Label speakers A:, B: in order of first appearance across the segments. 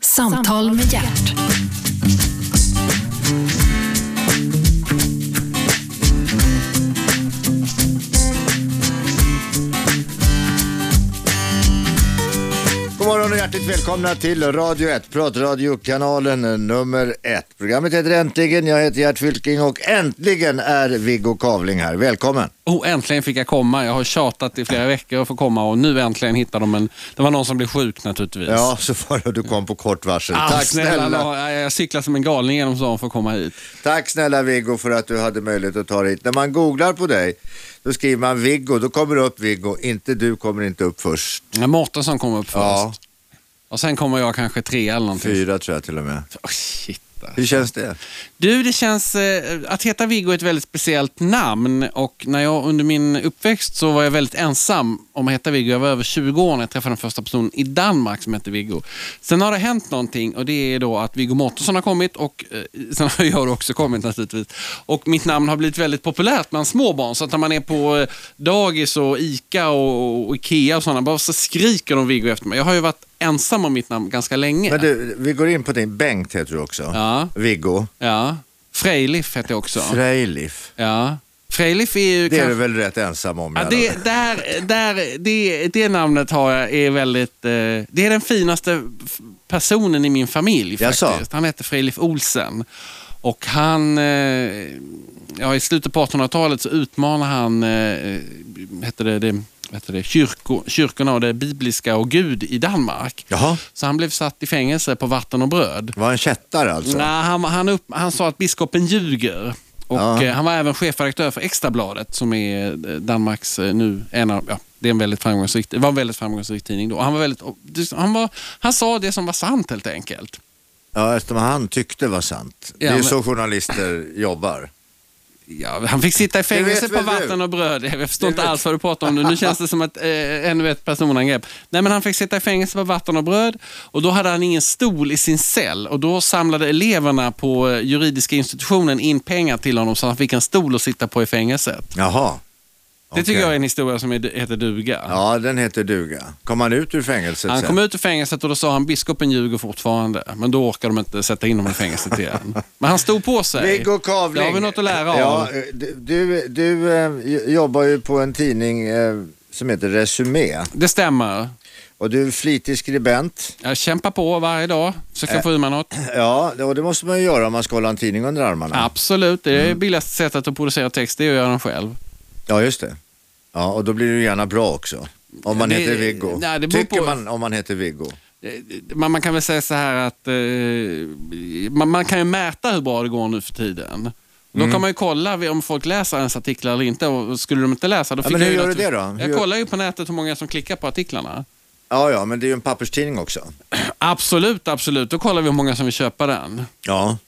A: Samtal med hjärt.
B: God morgon och hjärtligt välkomna till Radio 1, pratradiokanalen nummer 1. Programmet heter Äntligen, jag heter Gert Fylking och äntligen är Viggo Kavling här. Välkommen!
C: Oh, äntligen fick jag komma. Jag har tjatat i flera veckor att få komma och nu äntligen hittar de en... Det var någon som blev sjuk naturligtvis.
B: Ja, så var det du kom på kort varsel.
C: Ah,
B: Tack snälla.
C: la- Jag cyklar som en galning genom stan för att komma hit.
B: Tack snälla Viggo för att du hade möjlighet att ta dig hit. När man googlar på dig, då skriver man Viggo, då kommer det upp Viggo, inte du kommer inte upp först.
C: Men Mårtensson kom upp först.
B: Ja.
C: Och sen kommer jag kanske tre eller någonting.
B: Fyra tror jag till och med.
C: Oh, shit. alltså.
B: Hur känns det?
C: Du, det känns... Eh, att heta Viggo är ett väldigt speciellt namn och när jag under min uppväxt så var jag väldigt ensam om att heta Viggo. Jag var över 20 år när jag träffade den första personen i Danmark som hette Viggo. Sen har det hänt någonting och det är då att Viggo Mortensen har kommit och eh, sen har jag också kommit naturligtvis. Och mitt namn har blivit väldigt populärt bland småbarn så att när man är på eh, dagis och Ica och, och Ikea och sådana, bara så skriker de Viggo efter mig. Jag har ju varit ensam om mitt namn ganska länge.
B: Men du, vi går in på din Bengt heter du också.
C: Ja.
B: Viggo.
C: Ja. Frejlif heter jag också.
B: Frejlif.
C: Ja. Frejlif är ju
B: Det är du
C: kanske...
B: väl rätt ensam om? i
C: Ja,
B: alla fall.
C: det, där, där, det, det namnet har jag är väldigt... Eh, det är den finaste f- personen i min familj
B: Jaså?
C: faktiskt. Han heter Frejlif Olsen. Och han... Eh, ja, I slutet på 1800-talet så utmanar han eh, heter det, det, heter det, kyrko, kyrkorna och det bibliska och Gud i Danmark.
B: Jaha.
C: Så han blev satt i fängelse på vatten och bröd.
B: Var han kättare alltså?
C: Nej, han, han, upp, han sa att biskopen ljuger. Och
B: Ja.
C: eh, Han var även chefredaktör för Extrabladet som är eh, Danmarks eh, nu en av, ja, det är en väldigt framgångsrik, det var en väldigt framgångsrik tidning då. Och Han, var väldigt, och det- han, var, han sa det som var sant helt enkelt.
B: Ja, eftersom han tyckte var sant. det är
C: Ja,
B: ju
C: men-
B: så journalister jobbar.
C: Ja, han fick sitta i fängelse
B: vet
C: på
B: väl du?
C: vatten och bröd. Jag förstår
B: Det
C: inte
B: vet-
C: alls vad du pratar om nu. Nu känns det som ett, eh, ännu ett personangrepp. Nej, men han fick sitta i fängelse på vatten och bröd och då hade han ingen stol i sin cell och då samlade eleverna på eh, juridiska institutionen in pengar till honom så han fick en stol att sitta på i fängelset.
B: Jaha.
C: Det tycker jag är en historia som är, heter duga.
B: Ja, den heter duga. Kom han ut ur fängelset
C: Han
B: sen?
C: kom ut ur fängelset och då sa han biskopen ljuger fortfarande. Men då orkar de inte sätta in honom i fängelset igen. Men han stod på sig.
B: Viggo Kavling.
C: Det har vi något att lära av.
B: Ja, eh, du- du du eh, j- jobbar ju på en tidning eh, som heter Resumé
C: Det stämmer.
B: och du är flitig skribent.
C: Jag kämpar på varje dag. Försöker
B: Eh.
C: få ur mig något.
B: Ja, det- och det måste man ju göra om man ska hålla en tidning under armarna.
C: Absolut, det är
B: Mm.
C: det billigaste sättet att producera text, det är att göra den själv.
B: Ja, just det. Ja, och då blir det ju gärna bra också. Om man
C: Det-
B: heter Viggo.
C: nej, det beror
B: Tycker
C: på-
B: man om man heter Viggo?
C: Eh, Man, man kan väl säga så här att eh, man, man kan ju mäta hur bra det går nu för tiden. Då
B: Mm.
C: kan man ju kolla vi- om folk läser ens artiklar eller inte. Och skulle de inte läsa, då
B: Ja,
C: fick
B: men
C: jag
B: hur
C: ju
B: gör du
C: naturligt-
B: det då?
C: Jag
B: Hur-
C: kollar ju på nätet hur många som klickar på artiklarna.
B: Ja, ja, men det är ju en papperstidning också.
C: Absolut, absolut. Då kollar vi hur många som vill köpa den.
B: Ja.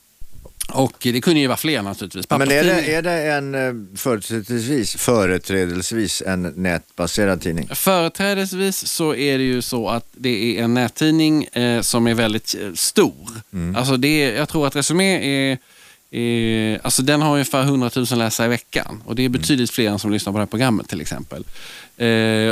C: Och det kunde ju vara fler naturligtvis.
B: Men är
C: Papperstidning-
B: det, är det en eh, företrädesvis, företrädesvis en nätbaserad tidning?
C: Företrädesvis så är det ju så att det är en nättidning eh, som är väldigt eh, stor. Alltså det är, jag tror att Resumé är, är, alltså den har ungefär 100 000 läsare i veckan och det är betydligt fler än som lyssnar på det här programmet till exempel. Eh,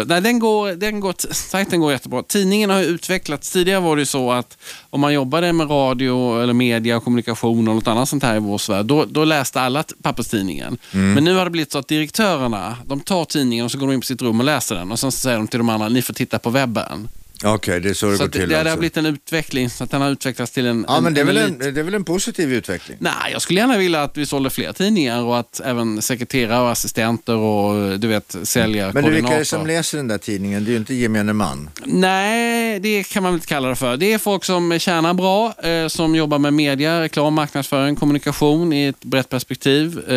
C: nej, den går, den går, t- sajten går jättebra. Tidningen har ju utvecklats. Tidigare var det ju så att om man jobbade med radio eller media och kommunikation och något annat sånt här i vår sfär, då, då läste alla t- papperstidningen.
B: Mm.
C: Men nu har det blivit så att direktörerna, de tar tidningen och så går de in på sitt rum och läser den och sen så säger de till de andra, ni får titta på webben.
B: Okej, det är så det
C: Så
B: går
C: att det,
B: till
C: det har
B: alltså.
C: blivit en utveckling, så att den har utvecklats till en
B: Ja, men det är, väl en,
C: elit.
B: det är väl en positiv utveckling?
C: Nej, jag skulle gärna vilja att vi sålde fler tidningar och att även sekreterare och assistenter och du vet, säljare,
B: Men du, vilka är det
C: koordinator.
B: som läser den där tidningen? Det är ju inte gemene man.
C: Nej, det kan man väl inte kalla det för. Det är folk som tjänar bra, eh, som jobbar med media, reklam, marknadsföring, kommunikation i ett brett perspektiv. Eh,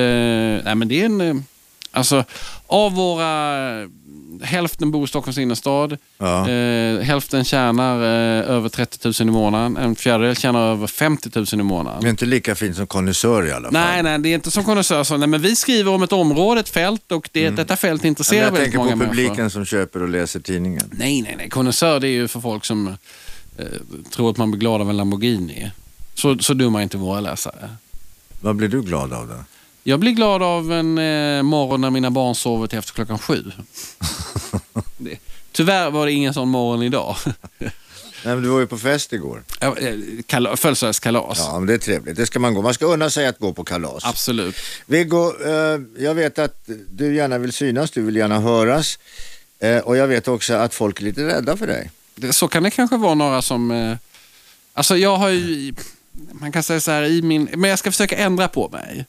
C: nej, men det är en, eh, alltså, av våra... eh, Hälften bor i Stockholms innerstad,
B: Ja.
C: eh, hälften tjänar eh, över 30 000 i månaden, en fjärdedel tjänar över 50 000 i månaden.
B: Det är inte lika fint som konnässör i alla fall.
C: Nej, nej, det är inte som konnässör. så, Nej, men vi skriver om ett område, ett fält och det, detta fält
B: Mm. Men
C: intresserar
B: jag
C: väldigt
B: tänker
C: många
B: på publiken
C: människor.
B: som köper och läser tidningen.
C: Nej, nej, nej. Konnässör det är ju för folk som eh, tror att man blir glad av en Lamborghini. Så, så dumma är inte våra läsare.
B: Vad blir du glad av då?
C: Jag blir glad av en eh, morgon när mina barn sover till efter klockan sju. det, tyvärr var det ingen sån morgon idag.
B: Nej, men du var ju på fest igår.
C: Ja, eh, kala- Födelsedagskalas.
B: Ja, men det är trevligt. Det ska man gå. Man ska unna sig att gå på kalas.
C: Absolut.
B: Viggo, eh, jag vet att du gärna vill synas, du vill gärna höras. Eh, och jag vet också att folk är lite rädda för dig.
C: Det- Så kan det kanske vara några som... eh, Alltså jag har ju... Man kan säga så här i min... Men jag ska försöka ändra på mig.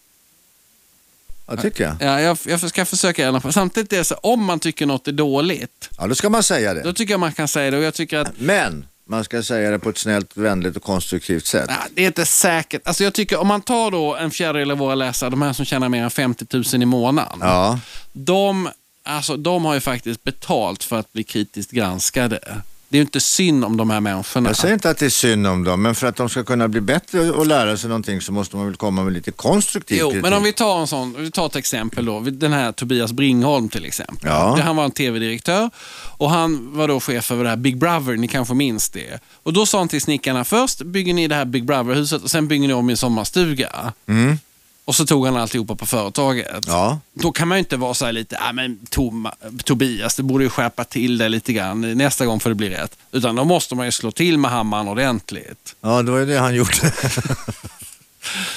B: Ja, tycker jag.
C: Ja, jag, jag ska försöka ändra på mig. Samtidigt är det så här, om man tycker något är dåligt,
B: Ja, då ska man säga det.
C: då tycker jag man kan säga det. Och jag tycker att
B: Men man ska säga det på ett snällt, vänligt och konstruktivt sätt.
C: Ja, det är inte säkert. Alltså jag tycker om man tar då en fjärdedel av våra läsare, de här som tjänar mer än 50 000 i månaden.
B: Ja,
C: De, alltså, de har ju faktiskt betalt för att bli kritiskt granskade. Det är ju inte synd om de här människorna.
B: jag säger inte att det är synd om dem, men för att de ska kunna bli bättre och lära sig någonting så måste man väl komma med lite konstruktiv
C: Jo,
B: kritik.
C: men om vi tar en sån, vi tar ett exempel då, den här Tobias Bringholm till exempel.
B: Ja.
C: Det- Han var en tv-direktör och han var då chef över det här Big Brother, ni kanske minns det. Och då sa han till snickarna, först bygger ni det här Big Brother-huset och sen bygger ni om min sommarstuga.
B: Mm.
C: Och så tog han alltihopa på företaget.
B: Ja,
C: Då kan man ju inte vara så här lite, ah, men Toma, Tobias, du borde ju skärpa till det lite grann nästa gång får det bli rätt. Utan då måste man ju slå till med hammaren ordentligt.
B: ja, det var ju det han gjorde.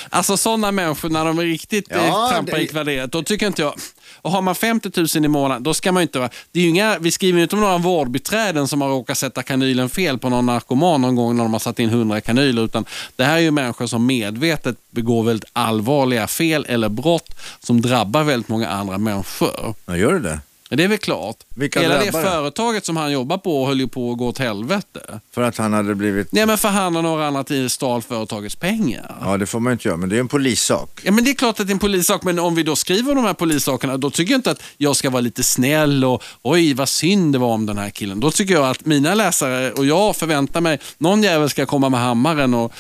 C: Alltså sådana människor när de är riktigt
B: Ja,
C: eh, trampar
B: det-
C: i kvarteret, då tycker inte jag... Och har man 50 000 i månaden, då ska man ju inte vara... Det är ju inga, vi skriver ju inte om några vårdbiträden som har råkat sätta kanylen fel på någon narkoman någon gång när de har satt in 100 kanyler, utan det här är ju människor som medvetet begår väldigt allvarliga fel eller brott som drabbar väldigt många andra människor.
B: Ja, gör du det?
C: Men Det är väl klart.
B: Vilka
C: Hela det
B: drabbar det?
C: företaget som han jobbar på höll ju på att gå åt helvete.
B: För att han hade blivit...
C: Nej men för han och några andra till stal företagets pengar.
B: Ja, det får man ju inte göra, men det är ju en polissak.
C: Ja, men det är klart att det är en polissak, men om vi då skriver de här polissakerna, då tycker jag inte att jag ska vara lite snäll och oj vad synd det var om den här killen. Då tycker jag att mina läsare och jag förväntar mig, någon jävel ska komma med hammaren och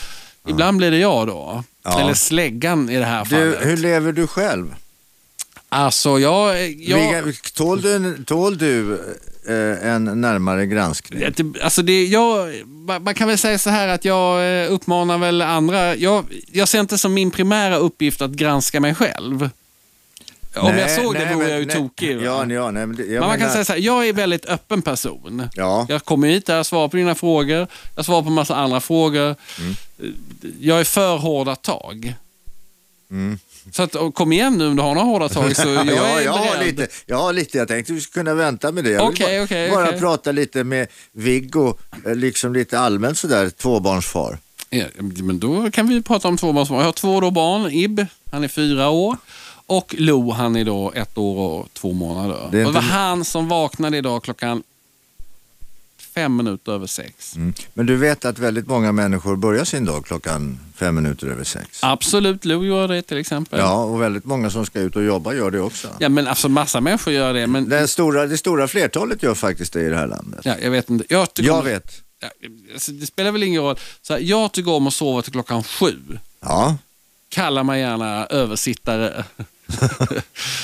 C: ibland blir det jag då.
B: Ja.
C: Eller släggan i det här
B: Du,
C: fallet.
B: hur lever du själv?
C: Alltså jag... jag...
B: Vilka- Tål du, en- tål du eh, en närmare granskning?
C: Att det- Alltså det, jag, man man kan väl säga så här att jag eh, uppmanar väl andra. Jag, jag ser inte som min primära uppgift att granska mig själv. Om jag såg det vore
B: men-
C: jag ju
B: nej.
C: tokig. va?
B: Ja, ja, nej, men det, jag
C: Men man
B: menar,
C: kan säga så här, jag är en väldigt öppen person.
B: Ja,
C: Jag kommer hit där, jag svarar på dina frågor, jag svarar på massa andra frågor. Jag är för hårda tag.
B: Mm.
C: Så att, och kom igen nu om du har några hårda tag så jag
B: ja,
C: är
B: jag, har
C: beredd.
B: lite, jag har lite. Jag tänkte vi skulle kunna vänta med det. Jag vill
C: Okej,
B: bara,
C: okej,
B: bara
C: okej.
B: prata lite med Viggo, eh, liksom lite allmänt sådär, tvåbarnsfar.
C: Ja, men då kan vi prata om tvåbarnsbarn. Jag har två då barn, Ib, han är fyra år. Och Lo, han är då ett år och två månader.
B: Det är
C: Det och det
B: inte-
C: var han som vaknade idag klockan fem minuter över sex.
B: Mm. Men du vet att väldigt många människor börjar sin dag klockan fem minuter över sex.
C: Absolut, Lo gör det till exempel.
B: Ja, och väldigt många som ska ut och jobba gör det också.
C: Ja, men alltså massa människor gör det. Men
B: Den stora, det stora flertalet gör faktiskt det i det här landet.
C: Ja, jag vet inte. Jag, tycker
B: Jag
C: om,
B: vet.
C: Ja, alltså, det spelar väl ingen roll. Så här, jag tycker om att sova till klockan sju.
B: Ja,
C: Kalla mig gärna översittare.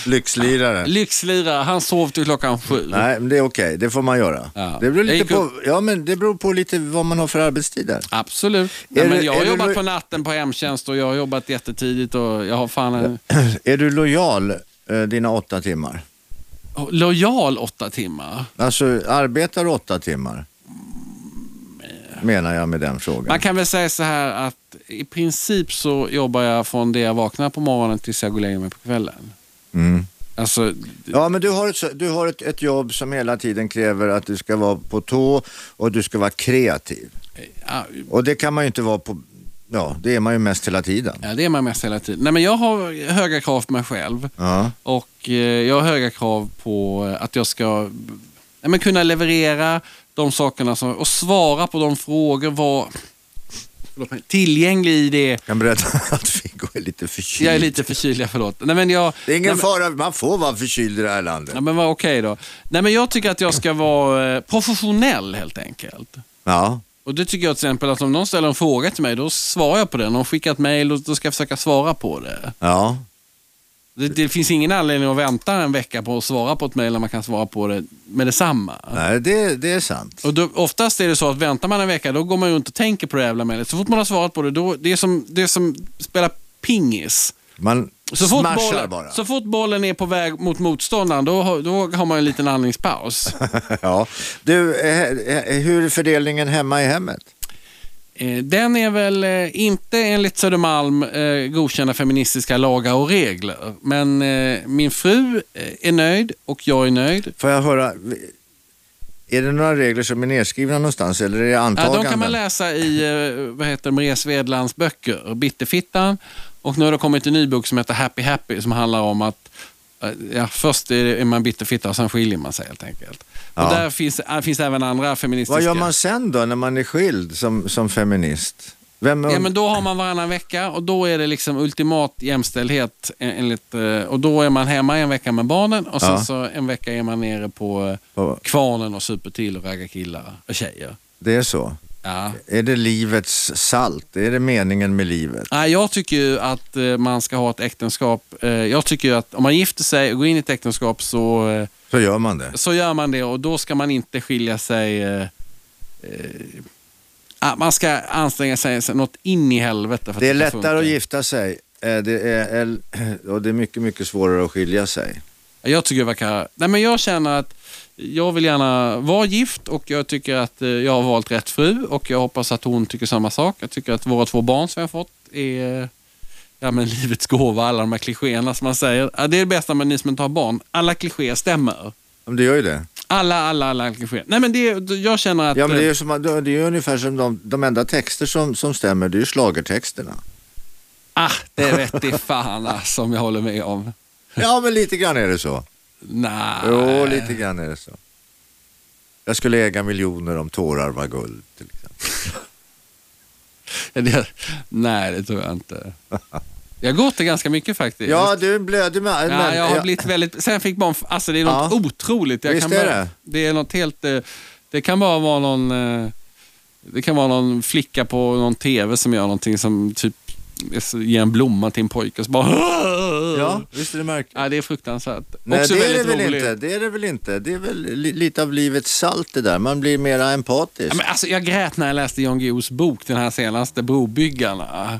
B: lyxlirare.
C: Lyxlirare, han sov till klockan sju.
B: Nej, men det är okej. Det får man göra.
C: Ja.
B: Det, beror
C: Jag gick
B: lite på, ja, men det beror på lite vad man har för arbetstid där.
C: Absolut. Nej, men
B: du-
C: jag har
B: är du
C: jobbat
B: lo-
C: på natten på hemtjänst och jag har jobbat jättetidigt och jag har fan en
B: Är du lojal eh, dina åtta timmar?
C: lojal åtta timmar.
B: Alltså, arbetar åtta timmar? Menar jag med den frågan.
C: Man kan väl säga så här att i princip så jobbar jag från det jag vaknar på morgonen tills jag går och lägger mig på kvällen.
B: Mm.
C: Alltså,
B: Ja, men du har, ett, så- du har ett, ett jobb som hela tiden kräver att du ska vara på tå och du ska vara kreativ.
C: ja,
B: Och det kan man ju inte vara på, ja, det är man ju mest hela tiden.
C: Ja, det är man mest hela tiden. Nej, men jag har höga krav på mig själv
B: Ja,
C: och eh, jag har höga krav på eh, att jag ska nej, men kunna leverera de sakerna som, och svara på de frågor, vara förlåt mig, tillgänglig i det.
B: jag kan berätta att Viggo är lite förkyld.
C: Jag är lite förkyld, jag förlåt. Nej, men jag,
B: Det är ingen
C: nej,
B: fara, man får vara förkyld i det här landet.
C: men, ja, men vad okej då. Nej, men jag tycker att jag ska vara eh, professionell helt enkelt.
B: Ja,
C: Och Det tycker jag till exempel att om någon ställer en fråga till mig, då svarar jag på den. Om de skickar ett mejl, då- då ska jag försöka svara på det.
B: ja.
C: Det, det finns ingen anledning att vänta en vecka på att svara på ett mejl när man kan svara på det med detsamma.
B: Nej, det, det är sant.
C: Och då, oftast är det så att väntar man en vecka då går man ju inte och tänker på det jävla mejlet. Så fort man har svarat på det, då, det, är som, det är som spela pingis.
B: Man
C: Så fort,
B: Smashar
C: bollen,
B: bara.
C: så fort bollen är på väg mot motståndaren, då, har- då har man en liten andningspaus.
B: ja. Du, eh, eh, hur är fördelningen hemma i hemmet?
C: Eh, Den är väl eh, inte enligt Södermalm eh, godkända feministiska lagar och regler. Men eh, min fru eh, är nöjd och jag är nöjd.
B: Får jag höra, är det några regler som är nedskrivna någonstans eller är det
C: Ja,
B: antaganden?
C: de kan man läsa i eh, vad heter Maria Svedlands böcker, Bitterfittan. Och nu har det kommit en ny bok som heter Happy Happy som handlar om att eh, ja, först är är man bitterfitta och sen skiljer man sig helt enkelt.
B: Ja.
C: Och där finns, äh, finns även andra feministiska...
B: Vad gör man sen då när man är skild som, som feminist? Vem
C: Ja, men då har man varannan vecka och då är det liksom ultimat jämställdhet. en- Enligt, eh, och då är man hemma en vecka med barnen och sen
B: Ja.
C: så en vecka är man nere på eh,
B: Vad-
C: kvarnen och super till och raggar killar och tjejer.
B: Det är så.
C: Ja.
B: Är det livets salt? Är det meningen med livet?
C: Nej, jag tycker ju att eh, man ska ha ett äktenskap. Eh, Jag tycker ju att om man gifter sig och går in i ett äktenskap så, eh,
B: Så gör man det.
C: så gör man det och då ska man inte skilja sig. eh, eh, ah, Man ska anstränga sig så- något in i helvete. För
B: Det är
C: att ska
B: lättare att
C: funka.
B: gifta sig eh, det är, el- och det är mycket, mycket svårare att skilja sig.
C: Jag tycker det verkar... Nej, men jag känner att jag vill gärna vara gift och jag tycker att eh, jag har valt rätt fru och jag hoppas att hon tycker samma sak. Jag tycker att våra två barn som jag har fått är eh, ja, men livets gåva, alla de här klichéerna som man säger. Ja, det är det bästa med ni som inte har barn. Alla klichéer stämmer.
B: Men det gör ju det.
C: Alla, alla, alla klichéer. Nej, men det, jag känner att...
B: Ja, men det är
C: eh,
B: ju som, det är ju ungefär som de, de enda texter som, som stämmer, det är ju schlagertexterna.
C: Ah, det vet i fan alltså, som jag håller med om.
B: Ja, men lite grann är det
C: Ah,
B: så.
C: Nej.
B: Jo, lite grann är det så. Jag skulle äga miljoner om tårar var guld. Till exempel.
C: Det, nej, det tror jag inte. Jag går till ganska mycket faktiskt.
B: Ja, du är en blödig man.
C: Ja,
B: men-
C: jag har
B: ja.
C: blivit väldigt... Sen fick barn... Alltså det är något
B: Ja.
C: otroligt. Jag
B: Visst
C: kan
B: är
C: bara,
B: det?
C: Det är något helt... eh, Det kan bara vara någon... eh, Det kan vara någon flicka på någon tv som gör någonting som typ ger en blomma till en pojke och så bara...
B: ja, visst är det märkligt.
C: Ja, det är fruktansvärt.
B: Nej,
C: Också
B: det är det
C: väldigt
B: väl
C: roligt.
B: inte. Det är det väl inte. Det är väl li- lite av livets salt det där. Man blir mera empatisk.
C: Ja, men alltså, jag grät när jag läste Jan Guillous bok, den här senaste, Brobyggarna.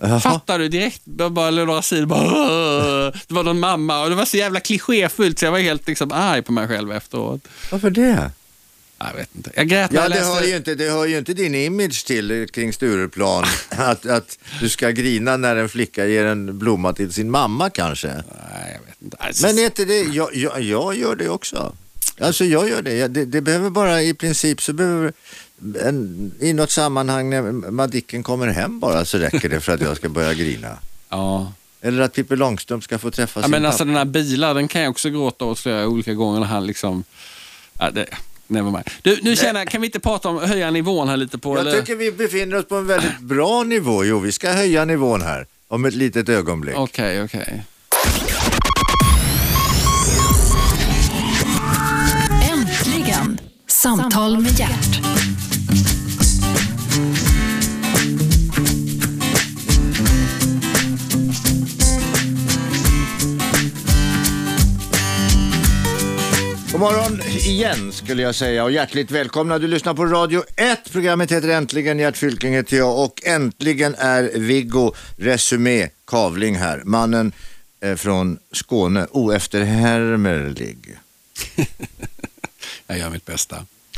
B: Jaha.
C: Fattar du direkt? Bara bara några sidor. Bara, det var någon mamma och det var så jävla klichéfullt så jag var helt liksom, arg på mig själv efteråt.
B: Varför det?
C: Jag vet inte. Jag grät när
B: Ja,
C: jag
B: det
C: läste...
B: hör, ju inte, det hör ju inte din image till eh, kring Stureplan. att, att du ska grina när en flicka ger en blomma till sin mamma kanske.
C: Nej, jag vet inte. Alltså,
B: Men är inte det, jag, jag, jag gör det också. Alltså jag gör det. Jag, det. Det behöver bara i princip så behöver en, i något sammanhang när Madicken kommer hem bara så räcker det för att jag ska börja grina.
C: ja.
B: Eller att Pippi Långstrump ska få träffa
C: ja,
B: sin
C: men
B: pappa.
C: alltså den här bilar, den kan jag också gråta åt flera olika gånger när han liksom... Ja, det... Never mind. Du, nu känner jag, kan vi inte prata om höja nivån här lite på...
B: Jag tycker vi befinner oss på en väldigt bra nivå. Jo, vi ska höja nivån här om ett litet ögonblick.
C: Okej, okej.
A: Äntligen! Samtal med hjärt.
B: God morgon igen skulle jag säga och hjärtligt välkomna. Du lyssnar på Radio 1. Programmet heter Äntligen. Gert Fylking heter jag och äntligen är Viggo Resumé Kavling här. Mannen eh, från Skåne, oefterhärmlig.
C: Jag gör mitt bästa.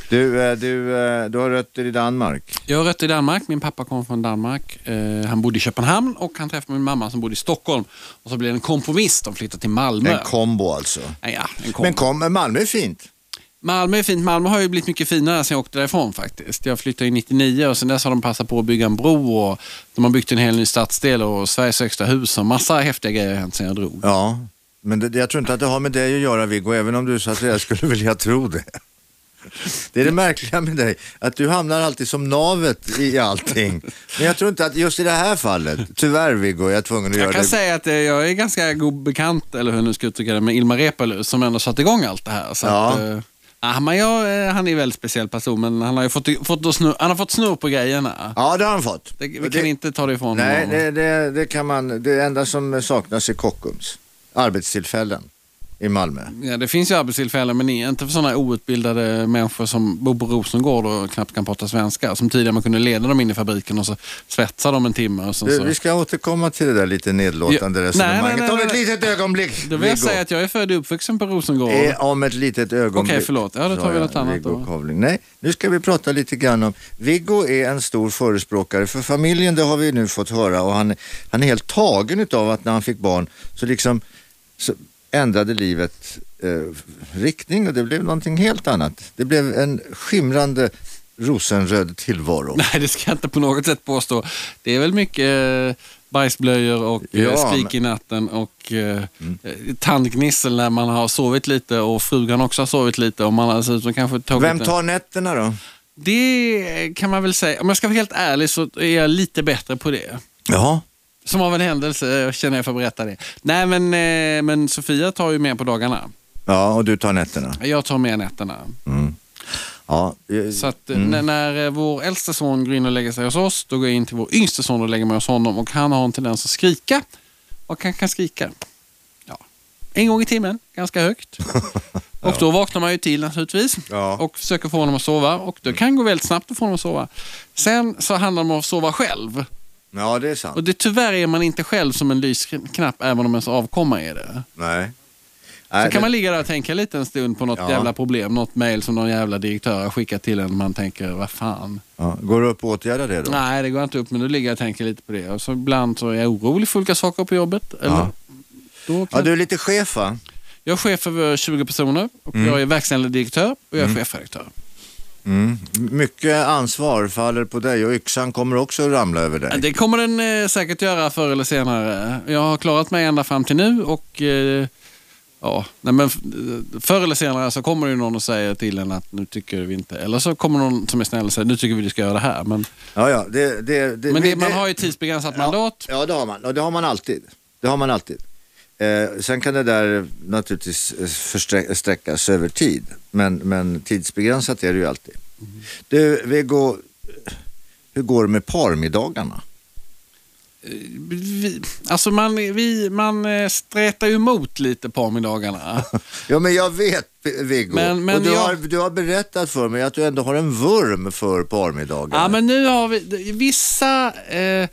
B: Du, eh, du, eh, du har rötter i Danmark.
C: Jag har rött i Danmark. Min pappa kom från Danmark. Eh, han bodde i Köpenhamn och han träffade min mamma som bodde i Stockholm. Och så blev det en kompromiss. De flyttade till Malmö.
B: En kombo alltså.
C: Nej, ja, en kom.
B: Men kom, Malmö är fint.
C: Malmö är fint. Malmö har ju blivit mycket finare sen jag åkte därifrån faktiskt. Jag flyttade ju 99 och sen dess har de passat på att bygga en bro och de har byggt en hel ny stadsdel och Sveriges högsta hus och massa häftiga grejer har hänt sen jag drog.
B: Ja, men det, jag tror inte att det har med dig att göra Viggo, även om du så att säga skulle vilja tro det. Det är det märkliga med dig, att du hamnar alltid som navet i allting. Men jag tror inte att just i det här fallet, tyvärr Viggo, jag är tvungen att göra
C: Jag kan
B: det.
C: säga att eh, jag är ganska god bekant, eller hur jag nu ska uttrycka det, med Ilmar Reepalu som ändå satte igång allt det här. Så
B: Ja.
C: att, eh, ah, men jag, eh, han är en väldigt speciell person men han har ju fått, fått, att snur, han har fått snurr på grejerna.
B: Ja, det har han fått.
C: Det, vi
B: Och
C: kan inte ta det ifrån
B: Nej,
C: honom.
B: det, det, det kan man. Det enda som saknas är Kockums. Arbetstillfällen. i Malmö?
C: Ja, det finns ju arbetstillfällen men inte för sådana outbildade människor som bor på Rosengård och knappt kan prata svenska. Som tidigare man kunde leda dem in i fabriken och så svetsa dem en timme. Och sen
B: Du,
C: så...
B: vi ska återkomma till det där lite nedlåtande
C: Alltså- Ja,
B: resonemanget
C: nej, nej, nej,
B: om ett
C: nej.
B: litet ögonblick.
C: Då vill jag
B: Viggo.
C: säga att jag är född och uppvuxen på Rosengård.
B: Eh, om ett litet ögonblick.
C: Okej, förlåt. Ja, då tar
B: sa
C: vi
B: jag,
C: något annat
B: Viggo
C: då.
B: Kavling. Nej, nu ska vi prata lite grann om... Viggo är en stor förespråkare för familjen, det har vi nu fått höra. Och han, han är helt tagen utav att när han fick barn så liksom så ändrade livet eh, riktning och det blev någonting helt annat. Det blev en skimrande rosenröd tillvaro.
C: Nej, det ska jag inte på något sätt påstå. Det är väl mycket eh, bajsblöjor och eh,
B: Ja, Mm.
C: skrik i natten och eh, eh, tandgnissel när man har sovit lite och frugan också har sovit lite. Och man har dessutom kanske tagit
B: Vem
C: en-
B: tar nätterna då?
C: Det kan man väl säga. Om jag ska vara helt ärlig så är jag lite bättre på det.
B: Jaha.
C: Som av en händelse eh, känner jag för att berätta det. Nej, men, eh, men Sofia tar ju med på dagarna.
B: Ja, och du tar nätterna.
C: Jag tar med nätterna.
B: Mm. Ja, eh,
C: Så att eh, när, när eh, vår äldsta son går in och lägger sig hos oss, då går jag in till vår yngste son och lägger mig hos honom. Och han har en tendens att skrika. Och han kan skrika ja, en gång i timmen, ganska högt. Och då vaknar man ju till naturligtvis
B: Ja.
C: och försöker få honom att sova. Och det kan gå väldigt snabbt att få honom att sova. Sen så handlar det om att sova själv.
B: ja, det är
C: Och
B: sant.
C: det, tyvärr är man inte själv som en lysknapp även om ens avkomma är det.
B: Nej.
C: Så
B: Nej,
C: kan
B: det-
C: man ligga där och tänka lite en stund på något
B: Ja.
C: jävla problem, något mejl som någon jävla direktör har skickat till en. Man tänker, vad fan.
B: ja. Går det upp och åtgärda det då?
C: Nej, det går inte upp, men då ligger jag och tänker lite på det. Och så ibland så är jag orolig för olika saker på jobbet. Eller,
B: Ja.
C: då kan
B: Ja, du är lite chef va?
C: Jag är chef över 20 personer och jag är verkställande direktör och jag är chefredaktör.
B: Mm. Mycket ansvar faller på dig och yxan kommer också att ramla över dig.
C: Det kommer den eh, säkert göra förr eller senare. Jag har klarat mig ända fram till nu och eh, ja, nej men f- eh, förr eller senare så kommer det ju någon och säger till en att nu tycker vi inte, eller så kommer någon som är snäll och säger nu tycker vi du ska göra det här. Men,
B: Ja, ja, det, det, det,
C: men
B: vi-
C: det, man
B: det-
C: har ju tidsbegränsat
B: ja,
C: mandat.
B: Ja, det har man. Och det har man alltid. Det har man alltid. Eh, sen kan det där naturligtvis eh, försträ- sträckas över tid. Men, men tidsbegränsat är det ju alltid.
C: Mm.
B: Du, Viggo, hur går det med parmiddagarna?
C: Vi, alltså man, vi, man eh, stretar ju emot lite på middagarna.
B: Ja, men jag vet Viggo.
C: Men- men
B: och du,
C: jag-
B: har, du har berättat för mig att du ändå har en vurm för parmiddagarna.
C: Ja, men nu har vi d- vissa... Eh,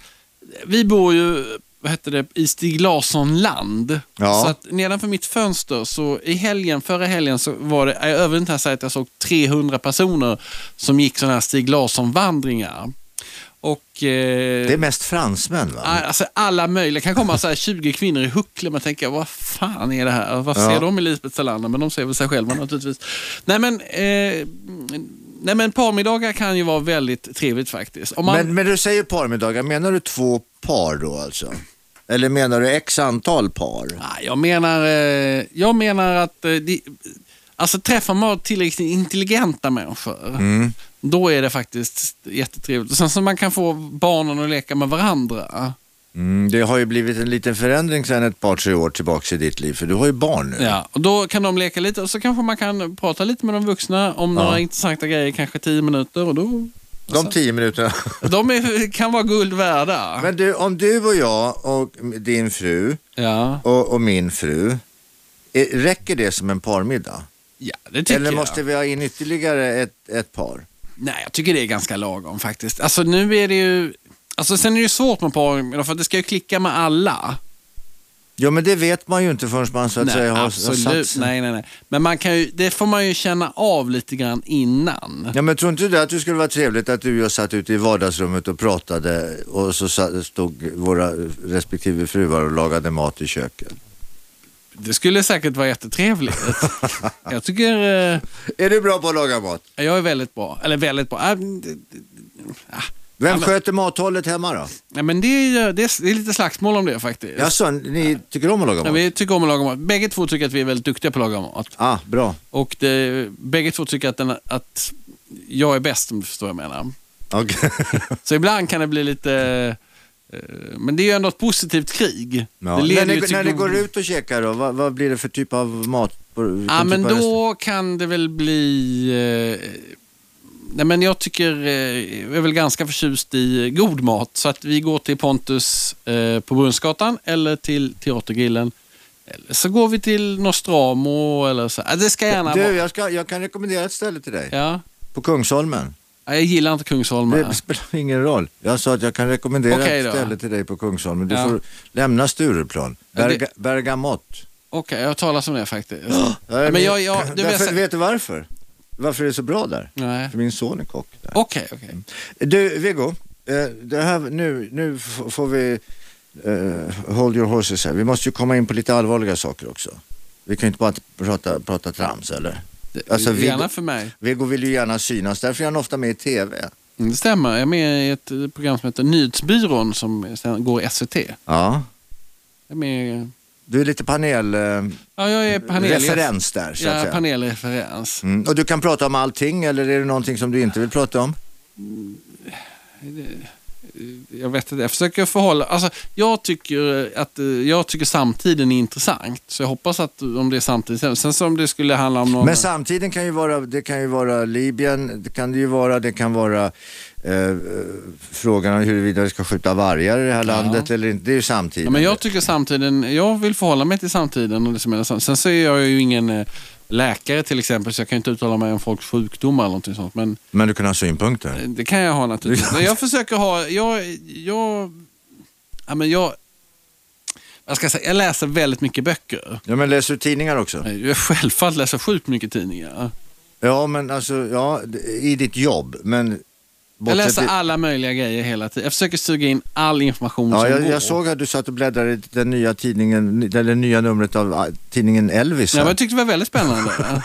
C: vi bor ju vad heter det, i Stig Larsson-land.
B: Ja.
C: Så att nedanför mitt fönster, så i helgen, förra helgen, så var det, jag överdriver inte här att säga att jag såg 300 personer som gick sådana här Stig Larsson-vandringar. Och... Eh,
B: Det är mest fransmän va?
C: a- Alltså alla möjliga, det kan komma så här 20 kvinnor i huckle, man tänker vad fan är det här? Vad
B: Ja.
C: ser de i Lisbeth Salander? Men de ser väl sig själva naturligtvis. Nej men, eh, nej, men parmiddagar kan ju vara väldigt trevligt faktiskt. Om man,
B: Men, men du säger parmiddagar, menar du två par då alltså? Eller menar du x antal par?
C: Nej, jag menar, eh, jag menar att eh, det- alltså, träffar man tillräckligt intelligenta människor,
B: Mm.
C: då är det faktiskt jättetrevligt. Och sen så man kan få barnen att leka med varandra.
B: Mm, det har ju blivit en liten förändring sedan ett par tre år tillbaka i ditt liv, för du har ju barn nu.
C: Ja, och då kan de leka lite och så kanske man kan prata lite med de vuxna om
B: Ja.
C: några intressanta grejer, kanske tio minuter. Och då,
B: De tio minuterna.
C: de är, kan vara guld värda.
B: Men du, om du och jag och din fru
C: ja.
B: och, och min fru, eh, räcker det som en parmiddag?
C: ja, det tycker
B: Eller
C: jag.
B: måste vi ha in ytterligare ett, ett par?
C: Nej, jag tycker det är ganska lagom faktiskt. Alltså nu är det ju... Alltså sen är det ju svårt med par, för att det ska ju klicka med alla.
B: Jo, men det vet man ju inte förrän man så att
C: nej,
B: säga har, har satt
C: absolut.
B: sig.
C: Nej, nej, nej. Men man kan ju, det får man ju känna av lite grann innan.
B: Ja, men tror inte du att det skulle vara trevligt att du och jag satt ute i vardagsrummet och pratade och så sa- stod våra respektive fruar och lagade mat i köket?
C: Det skulle säkert vara jättetrevligt. jag tycker... Eh,
B: Är du bra på att laga mat?
C: jag är väldigt bra. Eller väldigt bra. Äh, det-
B: Vem sköter mathållet hemma då?
C: Nej, men det är, det, är, det är lite slagsmål om det faktiskt.
B: Jaså, ni tycker om att laga
C: Ja,
B: mat?
C: vi tycker om att laga mat. Bägge två tycker att vi är väldigt duktiga på att laga mat.
B: Ah, bra.
C: Och det, bägge två tycker att, den, att jag är bäst om du förstår vad jag menar.
B: Okej.
C: Så ibland kan det bli lite... eh, Men det är ju ändå ett positivt krig.
B: Ja.
C: Det leder
B: När,
C: ju
B: ni,
C: till
B: när ni
C: god-
B: går ut och käkar då, vad, vad blir det för typ av mat? På, vilken
C: Ja,
B: typ
C: men
B: av restaurang?
C: då kan det väl bli... eh, Nej, men jag tycker, eh, jag är väl ganska förtjust i god mat. Så att vi går till Pontus eh, på Brunnsgatan eller till Teatergrillen. Eller så går vi till Nostramo eller så. Ja, Det ska gärna
B: Du,
C: vara...
B: jag, ska, jag kan rekommendera ett ställe till dig.
C: Ja.
B: På Kungsholmen.
C: Ja, Jag gillar inte Kungsholmen.
B: Det spelar ingen roll. Jag sa att jag kan rekommendera
C: Okej
B: ett
C: då.
B: ställe till dig på Kungsholmen. Du
C: Ja.
B: får lämna Stureplan.
C: Ja, det-
B: Berga, Bergamott.
C: Okej, jag har talat om det faktiskt.
B: Där är
C: men
B: min-
C: jag, jag, du
B: Därför,
C: vet,
B: Vet du varför? Varför är det så bra där?
C: Nej.
B: För min son är kock där.
C: Okej, okej.
B: Du, Viggo. eh, Det här, nu, nu f- får vi... eh, hold your horses här. Vi måste ju komma in på lite allvarliga saker också. Vi kan ju inte bara prata, prata trams eller?
C: Det-
B: Alltså, vi-
C: Gärna för mig.
B: Viggo vill ju gärna synas, därför är han ofta med i TV.
C: Det stämmer. Jag är med i ett eh, program som heter Nyhetsbyrån som sen går i SVT. Jag
B: Ja.
C: är med...
B: Du är lite panel... eh,
C: Ja, jag är panel...
B: referens där så att
C: Ja,
B: säga.
C: panelreferens.
B: Mm. Och du kan prata om allting eller är det någonting som du inte vill prata om?
C: Jag vet inte, jag försöker förhålla... Alltså, jag tycker att eh, jag tycker samtiden är intressant. Så jag hoppas att eh, om det är samtiden... Sen så om det skulle handla om någon...
B: Men samtiden kan ju vara, det kan ju vara Libyen, det kan det ju vara, det kan vara eh, eh, frågan om huruvida vi ska skjuta vargar i det här landet eller inte. Det är ju samtiden.
C: Ja, men jag tycker samtiden, jag vill förhålla mig till samtiden. Och det som är sant. Sen så är jag ju ingen eh, läkare till exempel, så jag kan ju inte uttala mig om folks sjukdomar eller någonting sånt. Men
B: Men du kan ha synpunkter.
C: eh, det kan jag ha naturligtvis. Men jag försöker ha, jag, jag, ja, men jag, vad ska jag säga, jag läser väldigt mycket böcker.
B: Ja men läser du tidningar också?
C: Eh, Jag självfallet läser sjukt mycket tidningar.
B: Ja men alltså, ja d- i ditt jobb men...
C: Jag läser
B: bortsett-
C: alla möjliga grejer hela tiden. Jag försöker suga in all information
B: Ja,
C: som
B: jag,
C: går.
B: jag såg att du satt och bläddrade i den nya tidningen, eller det nya numret av ah, tidningen Elvis.
C: Nej,
B: här.
C: men jag tyckte det var väldigt spännande.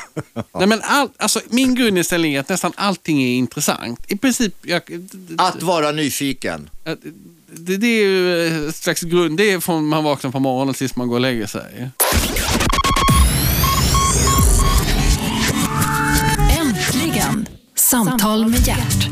C: Nej, men all, alltså, min grundinställning är att nästan allting är intressant. I princip, jag,
B: Att vara nyfiken.
C: det, det är ju eh, ett slags grund. Det är från man vaknar på morgonen tills man går och lägger sig.
A: Äntligen! Samtal med hjärt.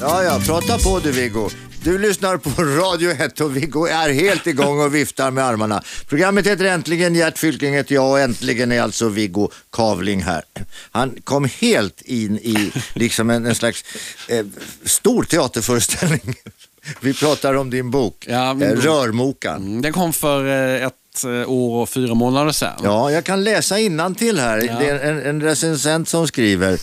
B: Ja, ja, prata på du Viggo. Du lyssnar på Radio 1 och Viggo är helt igång och viftar med armarna. Programmet heter Äntligen, Gert Fylking heter jag och äntligen är alltså Viggo Kavling här. Han kom helt in i liksom en, en slags eh, stor teaterföreställning. Vi pratar om din bok,
C: Ja, min
B: eh,
C: bok.
B: Rörmokan.
C: Mm, Den kom för eh, ett eh, år och fyra månader sedan.
B: Ja, jag kan läsa innan till här.
C: Ja.
B: Det är en, en recensent som skriver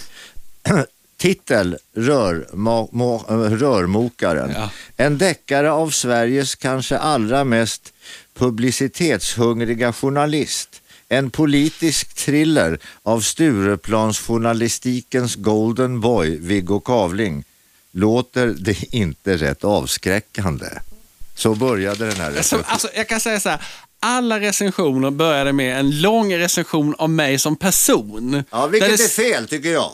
B: Titel rör, ma, ma, Rörmokaren.
C: Ja.
B: En deckare av Sveriges kanske allra mest publicitetshungriga journalist. En politisk thriller av Stureplansjournalistikens golden boy Viggo Kavling. Låter det inte rätt avskräckande? Så började den här
C: Som,
B: recensionen.
C: alltså, jag kan säga så här. Alla recensioner började med en lång recension av mig som person.
B: Ja,
C: Där
B: vilket
C: det
B: är fel tycker jag.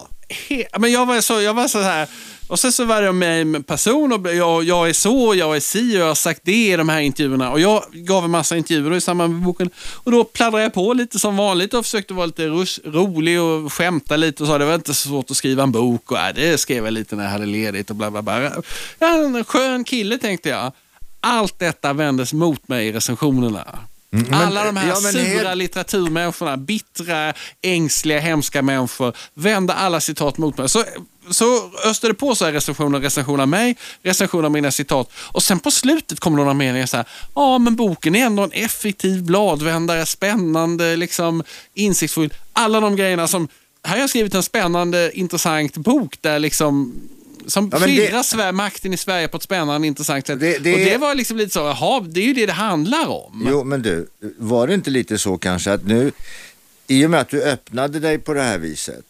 C: he- ja, men jag var så, jag var så här. Och sen så var det mig med person och jag, jag är så, jag är si och jag har sagt det i de här intervjuerna. Och jag gav en massa intervjuer i samband med boken. Och då pladdrade jag på lite som vanligt och försökte vara lite rus- rolig och skämta lite och sa det var inte så svårt att skriva en bok och äh, det skrev jag lite när jag hade ledigt och bla bla bla. Jag är en skön kille tänkte jag. Allt detta vändes mot mig i recensionerna. Alla de här
B: ja, Mm, men
C: sura
B: helt-
C: litteraturmänniskorna, bittra, ängsliga, hemska människor, vände alla citat mot mig. Så, så öste det på så här recensioner, recensioner av mig, recensioner av mina citat. Och sen på slutet kom det några meningar så här, ja men boken är ändå en effektiv bladvändare, spännande, liksom insiktsfull. Alla de grejerna som, här har jag skrivit en spännande, intressant bok där liksom som
B: Ja, men det-
C: skildrar Sver- makten i Sverige på ett spännande, intressant sätt.
B: Det- det-
C: Och det var liksom lite så, jaha, det är ju det det handlar om.
B: Jo, men du, var det inte lite så kanske att nu, i och med att du öppnade dig på det här viset.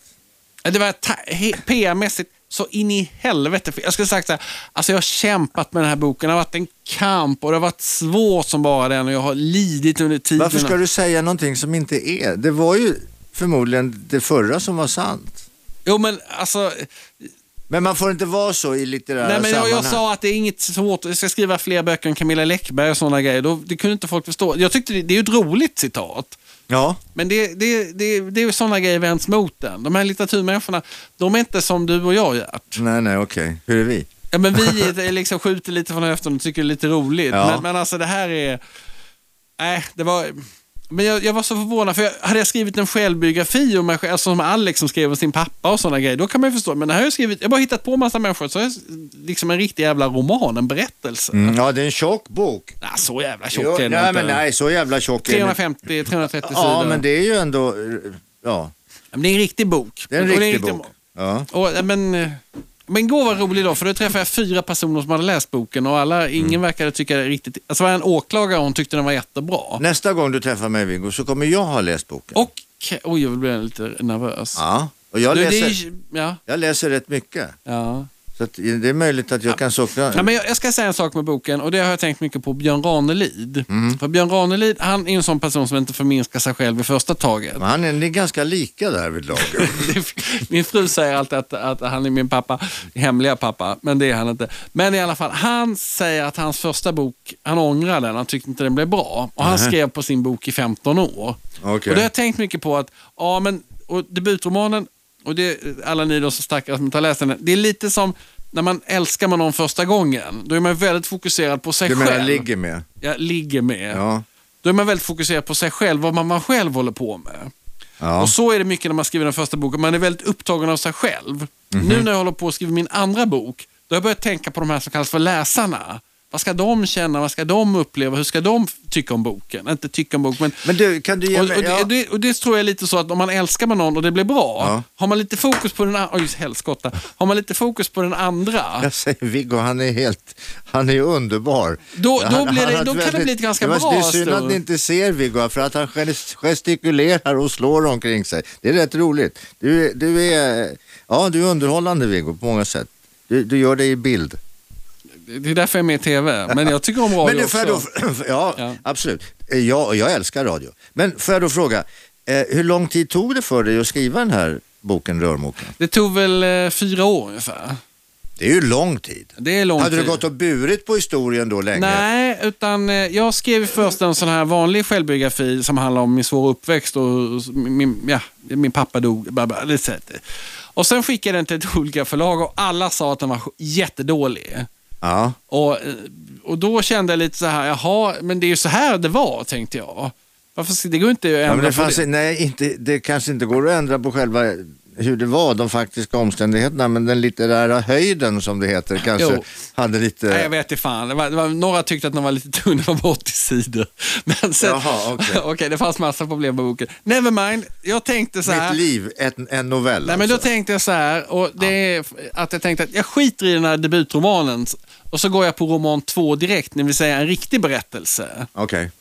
C: Det var ta- he- PR-mässigt så in i helvete. Jag skulle sagt så här, alltså jag har kämpat med den här boken. Det har varit en kamp och det har varit svårt som bara den och jag har lidit under tiden.
B: Varför ska du säga någonting som inte är? Det var ju förmodligen det förra som var sant.
C: Jo men alltså,
B: Men man får inte vara så i litterära
C: nej, men jag,
B: sammanhang.
C: jag sa att det är inget svårt, jag ska skriva fler böcker än Camilla Läckberg och sådana grejer. Då, det kunde inte folk förstå. Jag tyckte det, det är ju ett roligt citat.
B: Ja,
C: Men det, det, det, det är ju sådana grejer vänds mot den. De här litteraturmänniskorna, de är inte som du och jag gör.
B: nej, nej, okej. Hur är vi?
C: Ja, men vi är liksom skjuter lite från höften och tycker det är lite roligt.
B: Ja.
C: Men, men alltså det här är... Nej, det var... Men jag, jag var så förvånad, för jag, hade jag skrivit en självbiografi om mig själv, alltså som Alex som skrev om sin pappa och sådana grejer, då kan man ju förstå. Men det här har jag skrivit, jag har bara hittat på massa människor, så är liksom en riktig jävla roman, en berättelse.
B: Mm, ja, det är en tjock bok.
C: Nej, så jävla tjockt
B: Jo,
C: är den
B: nej,
C: inte.
B: men nej, så jävla tjock är den inte.
C: 350-330
B: Ja,
C: sidor.
B: men det är ju ändå... Ja,
C: Men det är en riktig bok.
B: det är en
C: Och
B: riktig bok. Ja.
C: Och, eh, men, eh, men går var rolig då, för då träffade jag fyra personer som hade läst boken och alla,
B: Mm.
C: ingen verkade tycka det riktigt... Alltså var det en åklagare och hon tyckte den var jättebra.
B: Nästa gång du träffar mig Viggo så kommer jag ha läst boken.
C: Och, oj, jag blev lite nervös.
B: Ja, och jag
C: Du, det är
B: läser,
C: ju- ja,
B: jag läser rätt mycket.
C: ja.
B: Så att det är möjligt att jag kan sockra.
C: Ja, men jag, jag ska säga en sak med boken och det har jag tänkt mycket på Björn Ranelid.
B: Mm.
C: För Björn Ranelid han är en sån person som inte förminskar sig själv i första taget.
B: Men han är, ni är ganska lika där vid lagen.
C: Min fru säger alltid att, att han är min pappa, hemliga pappa, men det är han inte. Men i alla fall, han säger att hans första bok, han ångrar den, han tyckte inte den blev bra. Och han skrev på sin bok i 15 år.
B: Okej.
C: Och det har jag tänkt mycket på att, ja men, och debutromanen, och det, alla ni då som stackare som inte har läst den, det är lite som när man älskar med någon första gången, då är man väldigt fokuserad på sig
B: Du menar
C: själv.
B: ligger med?
C: Jag ligger med.
B: Ja.
C: Då är man väldigt fokuserad på sig själv, vad man, man själv håller på med.
B: ja.
C: Och så är det mycket när man skriver den första boken. Man är väldigt upptagen av sig själv.
B: Mhm.
C: Nu när jag håller på att skriva min andra bok, då har jag börjat tänka på de här som kallas för läsarna. Vad ska de känna? Vad ska de uppleva? Hur ska de f- tycka om boken? Inte tycka om boken, men...
B: Men du, kan du ge
C: och, och,
B: mig...
C: det,
B: ja.
C: och, det, och det tror jag är lite så att om man älskar med någon och det blir bra,
B: Ja.
C: har man lite fokus på den andra... Oj, helskotta. Har man lite fokus på den andra,
B: Jag säger Viggo, han är helt, han är underbar.
C: Då- då
B: han,
C: blir det-
B: har
C: då
B: ett
C: kan det bli ett ganska
B: det var- Det är
C: bra alltså.
B: synd
C: stund.
B: att ni inte ser Viggo, för att han gest- gestikulerar och slår omkring sig. Det är rätt roligt. Du, är- du är, ja du är underhållande Viggo på många sätt. Du, du gör det i bild.
C: det är därför jag är med i TV. Men jag tycker om radio
B: Men du, får
C: också.
B: jag då, ja,
C: Ja.
B: absolut. Eh, Jag, jag älskar radio. Men får jag då fråga, eh, hur lång tid tog det för dig att skriva den här boken Rörmokan?
C: Det tog väl eh, fyra år ungefär.
B: Det är ju lång tid.
C: Det är lång
B: Hade
C: tid.
B: du gått och burit på historien då länge?
C: Nej, utan eh, jag skrev först en sån här vanlig självbiografi som handlar om min svåra uppväxt och hur min, ja, min pappa dog. bla, bla, lite så här. Och sen skickade jag den till ett olika förlag och alla sa att den var sk- jättedålig.
B: Ja.
C: Och, eh, och då kände jag lite så här, jaha, men det är ju så här det var, tänkte jag. Varför, ska- det går inte att ändra
B: Ja, men det,
C: på
B: fanns, Nej, inte, det kanske inte går att ändra på själva hur det var, de faktiska omständigheterna, men den litterära höjden som det heter kanske
C: Jo.
B: hade lite...
C: Nej, jag vet inte fan. Det var, det var, några tyckte att den var lite tunn, den var bara 80 sidor. Men sen,
B: Jaha, okej.
C: det fanns massa problem med boken. Nevermind, jag tänkte så här.
B: Mitt liv, en, en novell
C: Nej, men då
B: alltså.
C: tänkte jag så här, och det är att jag tänkte att jag skiter i den här debutromanen och så går jag på roman två direkt, det vill säga en riktig berättelse.
B: Okej.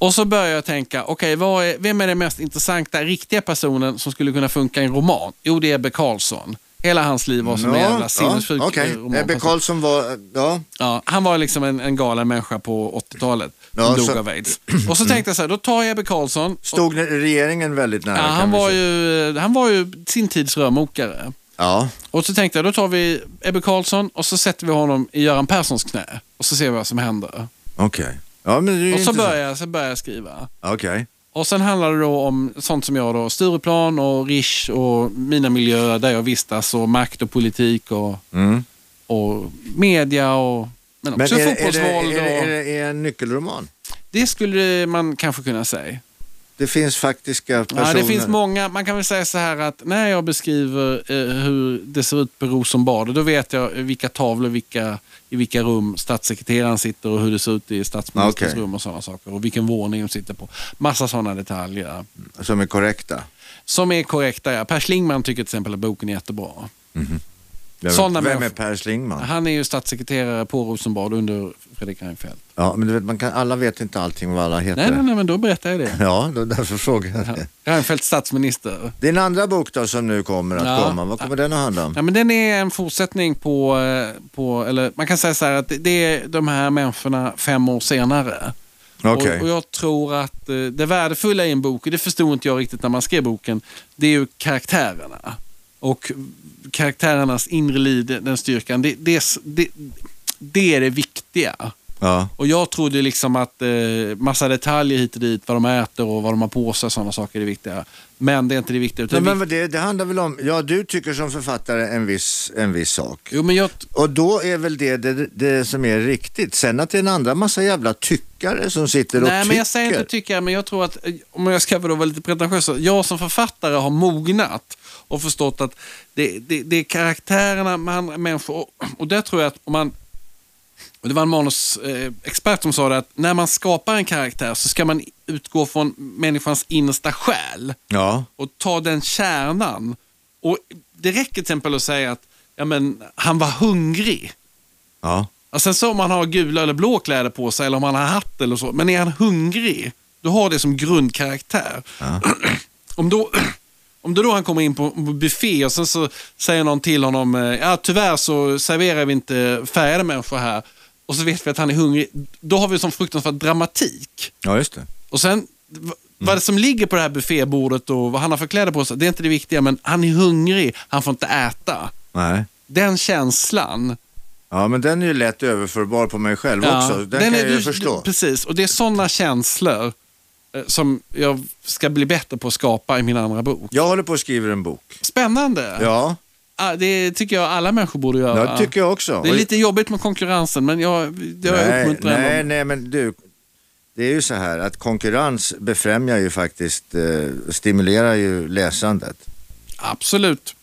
C: Och så börjar jag tänka, okej, vad är, vem är den mest intressanta riktiga personen som skulle kunna funka i en roman? Jo, det är Ebbe Carlsson. Hela hans liv var som en
B: Ja,
C: jävla sinnessjuk
B: ja, okej.
C: eh,
B: Ebbe
C: romanperson.
B: Carlsson var... Ja.
C: Ja, han var liksom en, en galen människa på 80-talet som
B: Ja,
C: dog
B: så-
C: av aids. Och så tänkte jag så här, då tar jag Ebbe Carlsson. Och,
B: Stod regeringen väldigt nära?
C: ja,
B: kan
C: han,
B: vi
C: var
B: säga.
C: ju, eh, han var ju sin tids rörmokare.
B: Ja,
C: Och så tänkte jag, då tar vi Ebbe Carlsson och så sätter vi honom i Göran Perssons knä. Och så ser vi vad som händer.
B: okej. Ja, men det är ju
C: Och så
B: intressant.
C: börjar, jag, så börjar jag skriva.
B: Okej.
C: Och sen handlar det då om sånt som jag då, Stureplan och Rish och mina miljöer där jag vistas och makt och politik och,
B: Mm.
C: och media och men
B: Men
C: också
B: är, är, det,
C: fotbollsvåld.
B: är, det, är,
C: och,
B: det, är det en nyckelroman?
C: det skulle man kanske kunna säga.
B: Det finns faktiska personer.
C: Ja, det finns många, man kan väl säga så här att när jag beskriver eh, hur det ser ut på Rosenbad, då vet jag vilka tavlor, vilka, i vilka rum statssekreteraren sitter och hur det ser ut i statsministerns
B: Okej.
C: rum och sådana saker. Och vilken våning de sitter på. Massa sådana detaljer
B: Som är korrekta.
C: som är korrekta. Ja. Per Schlingmann tycker till exempel att boken är jättebra.
B: Vem,
C: Sådana
B: vem är
C: människor.
B: Per Schlingmann?
C: Han är ju statssekreterare på Rosenbad under Fredrik Reinfeldt.
B: Ja, men du vet, man kan, alla vet inte allting vad alla heter.
C: Nej, nej, nej, men då berättar jag det.
B: Ja, då, därför frågar jag det.
C: Reinfeldt statsminister.
B: Din andra bok då som nu kommer att
C: Ja.
B: komma, vad kommer den att handla om?
C: Ja, men den är en fortsättning på, eh, på eller man kan säga så här att det- det är de här människorna fem år senare.
B: Okej.
C: Och, och jag tror att eh, det värdefulla i en bok, och det förstod inte jag riktigt när man skrev boken, det är ju karaktärerna. Och karaktärernas inre liv, den styrkan, det, det, är s- det, det är det viktiga.
B: Ja.
C: Och jag trodde liksom att eh, massa detaljer hit och dit, vad de äter och vad de har på sig och sådana saker är viktiga. Men det är inte det viktiga. Utan
B: Nej,
C: det
B: men det, det handlar väl om, ja du tycker som författare en viss, en viss sak.
C: vik- jo, men jag,
B: Och då är väl det, det det som är riktigt. Sen att det är en andra massa jävla tyckare som sitter och
C: Nej,
B: tycker.
C: men jag säger inte tycka, men jag tror att, eh, om jag ska då vara lite pretentiös, så jag som författare har mognat och förstått att det, det, det är karaktärerna med andra människor. Och, och där tror jag att om man, och det var en manusexpert som sa det, att när man skapar en karaktär så ska man utgå från människans innersta själ
B: Ja,
C: och ta den kärnan. Och Det räcker till exempel att säga att ja, men, han var hungrig.
B: ja.
C: Och sen så om man har gula eller blå kläder på sig eller om man har hatt eller så. Men är han hungrig, du har det som grundkaraktär. om, då, om då, då han kommer in på på buffé och sen så säger någon till honom, eh, ja tyvärr så serverar vi inte färgade människor här. Och så vet vi att han är hungrig. Då har vi som fruktansvärd dramatik.
B: Ja, just det.
C: Och sen, v- vad det som ligger på det här buffébordet och vad han har för kläder på sig, det är inte det viktiga, men han är hungrig, han får inte äta.
B: Nej.
C: Den känslan
B: Ja, men den är ju lätt överförbar på mig själv också. Den, kan
C: är-
B: jag ju
C: du-
B: förstå.
C: du- Precis, och det är sådana känslor eh, som jag ska bli bättre på att skapa i min andra bok.
B: Jag håller på och skriver en bok.
C: Spännande!
B: Ja,
C: Ah, Det tycker jag alla människor borde göra.
B: det tycker jag också.
C: Det är lite jobbigt med konkurrensen, men jag, jag
B: nej,
C: uppmuntrar
B: nej,
C: ändå.
B: nej, men du. Det är ju så här att konkurrens befrämjar ju faktiskt, eh, stimulerar ju läsandet.
C: Absolut.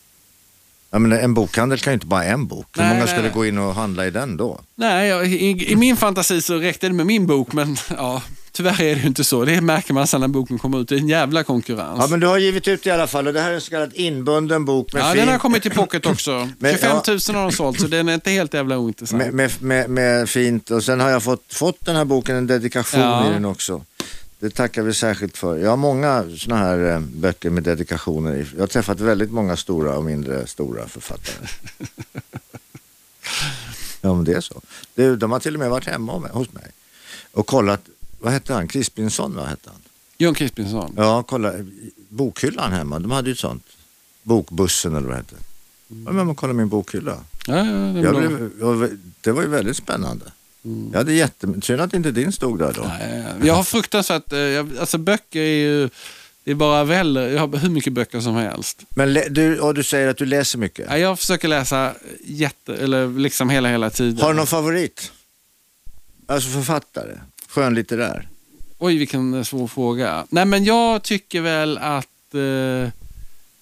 B: Jag menar, en bokhandel kan ju inte bara ha en bok. Hur
C: Nej,
B: många
C: nej,
B: skulle
C: nej.
B: gå in och handla i den då?
C: Nej, jag, i, I min fantasi så räckte det med min bok, men ja, tyvärr är det ju inte så. Det märker man sen när boken kommer ut. Det är en jävla konkurrens.
B: Ja, men du har givit ut i alla fall och det här är en så kallad inbunden bok med
C: Ja,
B: fin...
C: den har kommit i pocket också.
B: Men,
C: 25
B: ja.
C: 000 har de sålt, så den är inte helt jävla ointressant.
B: Med, med, med, med fint och sen har jag fått, fått den här boken en dedikation i
C: Ja.
B: den också. Det tackar vi särskilt för. Jag har många sådana här eh, böcker med dedikationer i. Jag har träffat väldigt många stora och mindre stora författare. ja men det är så. Du, de har till och med varit hemma om- hos mig och kollat, vad hette han, Crispinson vad hette han?
C: John Crispinson.
B: Ja, kolla bokhyllan hemma, de hade ju ett sånt. Bokbussen eller vad det hette. Ja, men man kollar min bokhylla.
C: Ja, ja, det är
B: Jag
C: bra.
B: blev, jag- det var ju väldigt spännande. Jag hade jätte... Synd att inte din stod där då.
C: Mm. Nej, Jag har fruktansvärt... eh, Jag, alltså böcker är ju... Det är bara väller. Jag har hur mycket böcker som helst.
B: Men lä- du, och du säger att du läser mycket.
C: Ja, Jag försöker läsa jätte, eller liksom hela, hela tiden.
B: Har du någon favorit? Alltså författare, skönlitterär.
C: Oj, vilken eh, svår fråga. Nej, men jag tycker väl att... Eh,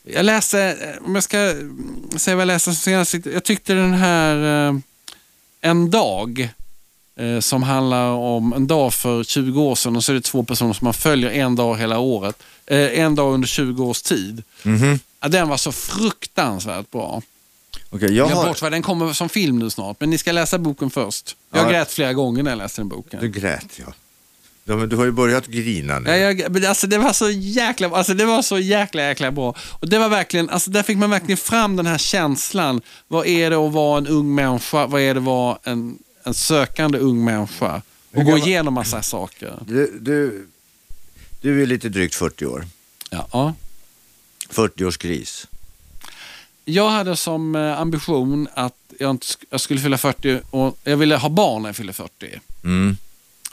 C: jag läste, eh, om jag ska mm, säga vad jag läste som senast, jag tyckte den här eh, En dag, eh, som handlar om en dag för 20 år sedan och så är det två personer som man följer en dag hela året, eh, en dag under 20 års tid.
B: Mhm.
C: Ja, den var så fruktansvärt bra.
B: Okej, jag
C: Jag har...
B: har...
C: bort, den kommer som film nu snart, men ni ska läsa boken först. Jag
B: Ja.
C: grät flera gånger när jag läste den boken.
B: Du grät ja. ja men du har ju börjat grina nu.
C: Ja, jag, men alltså, det var så jäkla alltså, det var så jäkla, jäkla bra. Och det var verkligen, alltså, där fick man verkligen fram den här känslan. Vad är det att vara en ung människa? Vad är det att vara en, en sökande ung människa? Och gå
B: gammal-
C: igenom massa saker.
B: Du, du, du är lite drygt 40 år.
C: Ja, ja.
B: 40-årsgris.
C: Jag hade som eh, ambition att jag, inte, sk- jag skulle fylla 40 och jag ville ha barn när jag fyllde 40.
B: Mm,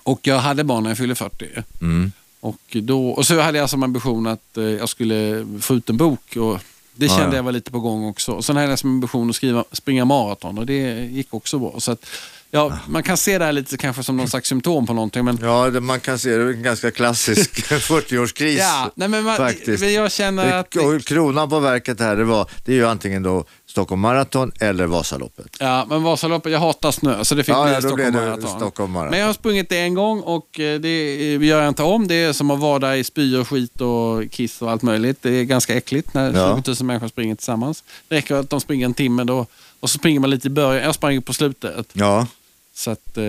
C: Och jag hade barn när jag fyllde 40.
B: mm.
C: Och, då, och så hade jag som ambition att eh, jag skulle få ut en bok. Och det
B: Ja,
C: kände
B: ja.
C: jag var lite på gång också. Och sen hade jag som ambition att skriva, springa maraton och det gick också bra. Så att, ja, man kan se det här lite kanske som någon slags symptom på någonting. Men,
B: Ah. Ja, det, man kan se det är en ganska klassisk 40-årskris.
C: ja, nej, men, man,
B: faktiskt.
C: men jag känner att...
B: Det- och kronan på verket här, det, var, det är ju antingen då Stockholm Marathon eller Vasaloppet.
C: Ja, men Vasaloppet, jag hatar snö så det fick
B: Ja,
C: bli
B: ja, då
C: Stockholm,
B: blev det
C: Marathon.
B: Stockholm Marathon.
C: Men jag har sprungit det en gång och eh, det gör jag inte om. Det är som att vara i spy och skit och kiss och allt möjligt. Det är ganska äckligt när
B: Ja.
C: 20 000 människor springer tillsammans. Det räcker att de springer en timme då och så springer man lite i början. Jag sprang ju på slutet.
B: Ja,
C: Så att, eh,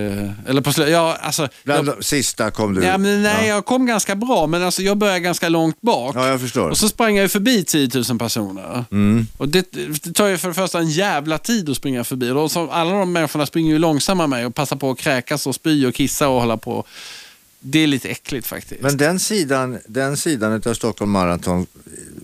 C: eller på slutet, ja alltså.
B: bland
C: jag,
B: de sista kom du.
C: ja, men, nej,
B: ja.
C: jag kom ganska bra men alltså, jag började ganska långt bak.
B: ja, jag förstår.
C: Och så sprang jag ju förbi 10 000 personer.
B: Mm.
C: Och det, det tar ju för det första en jävla tid att springa förbi. Och så, alla de människorna springer ju långsammare än mig och passar på att kräkas och spy och kissa och hålla på. Det är lite äckligt faktiskt.
B: Men den sidan, den sidan utav Stockholm Marathon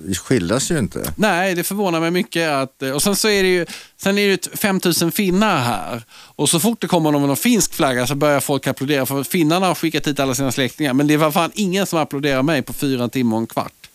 B: eh, skildas ju inte.
C: Nej, det förvånar mig mycket. Att, eh, och sen så är det ju, sen är det ju ett 5000 finnar här. Och så fort det kommer någon med någon finsk flagga så börjar folk applådera. För finnarna har skickat hit alla sina släktingar. Men det var fan ingen som applåderar mig på fyra timmar och en kvart.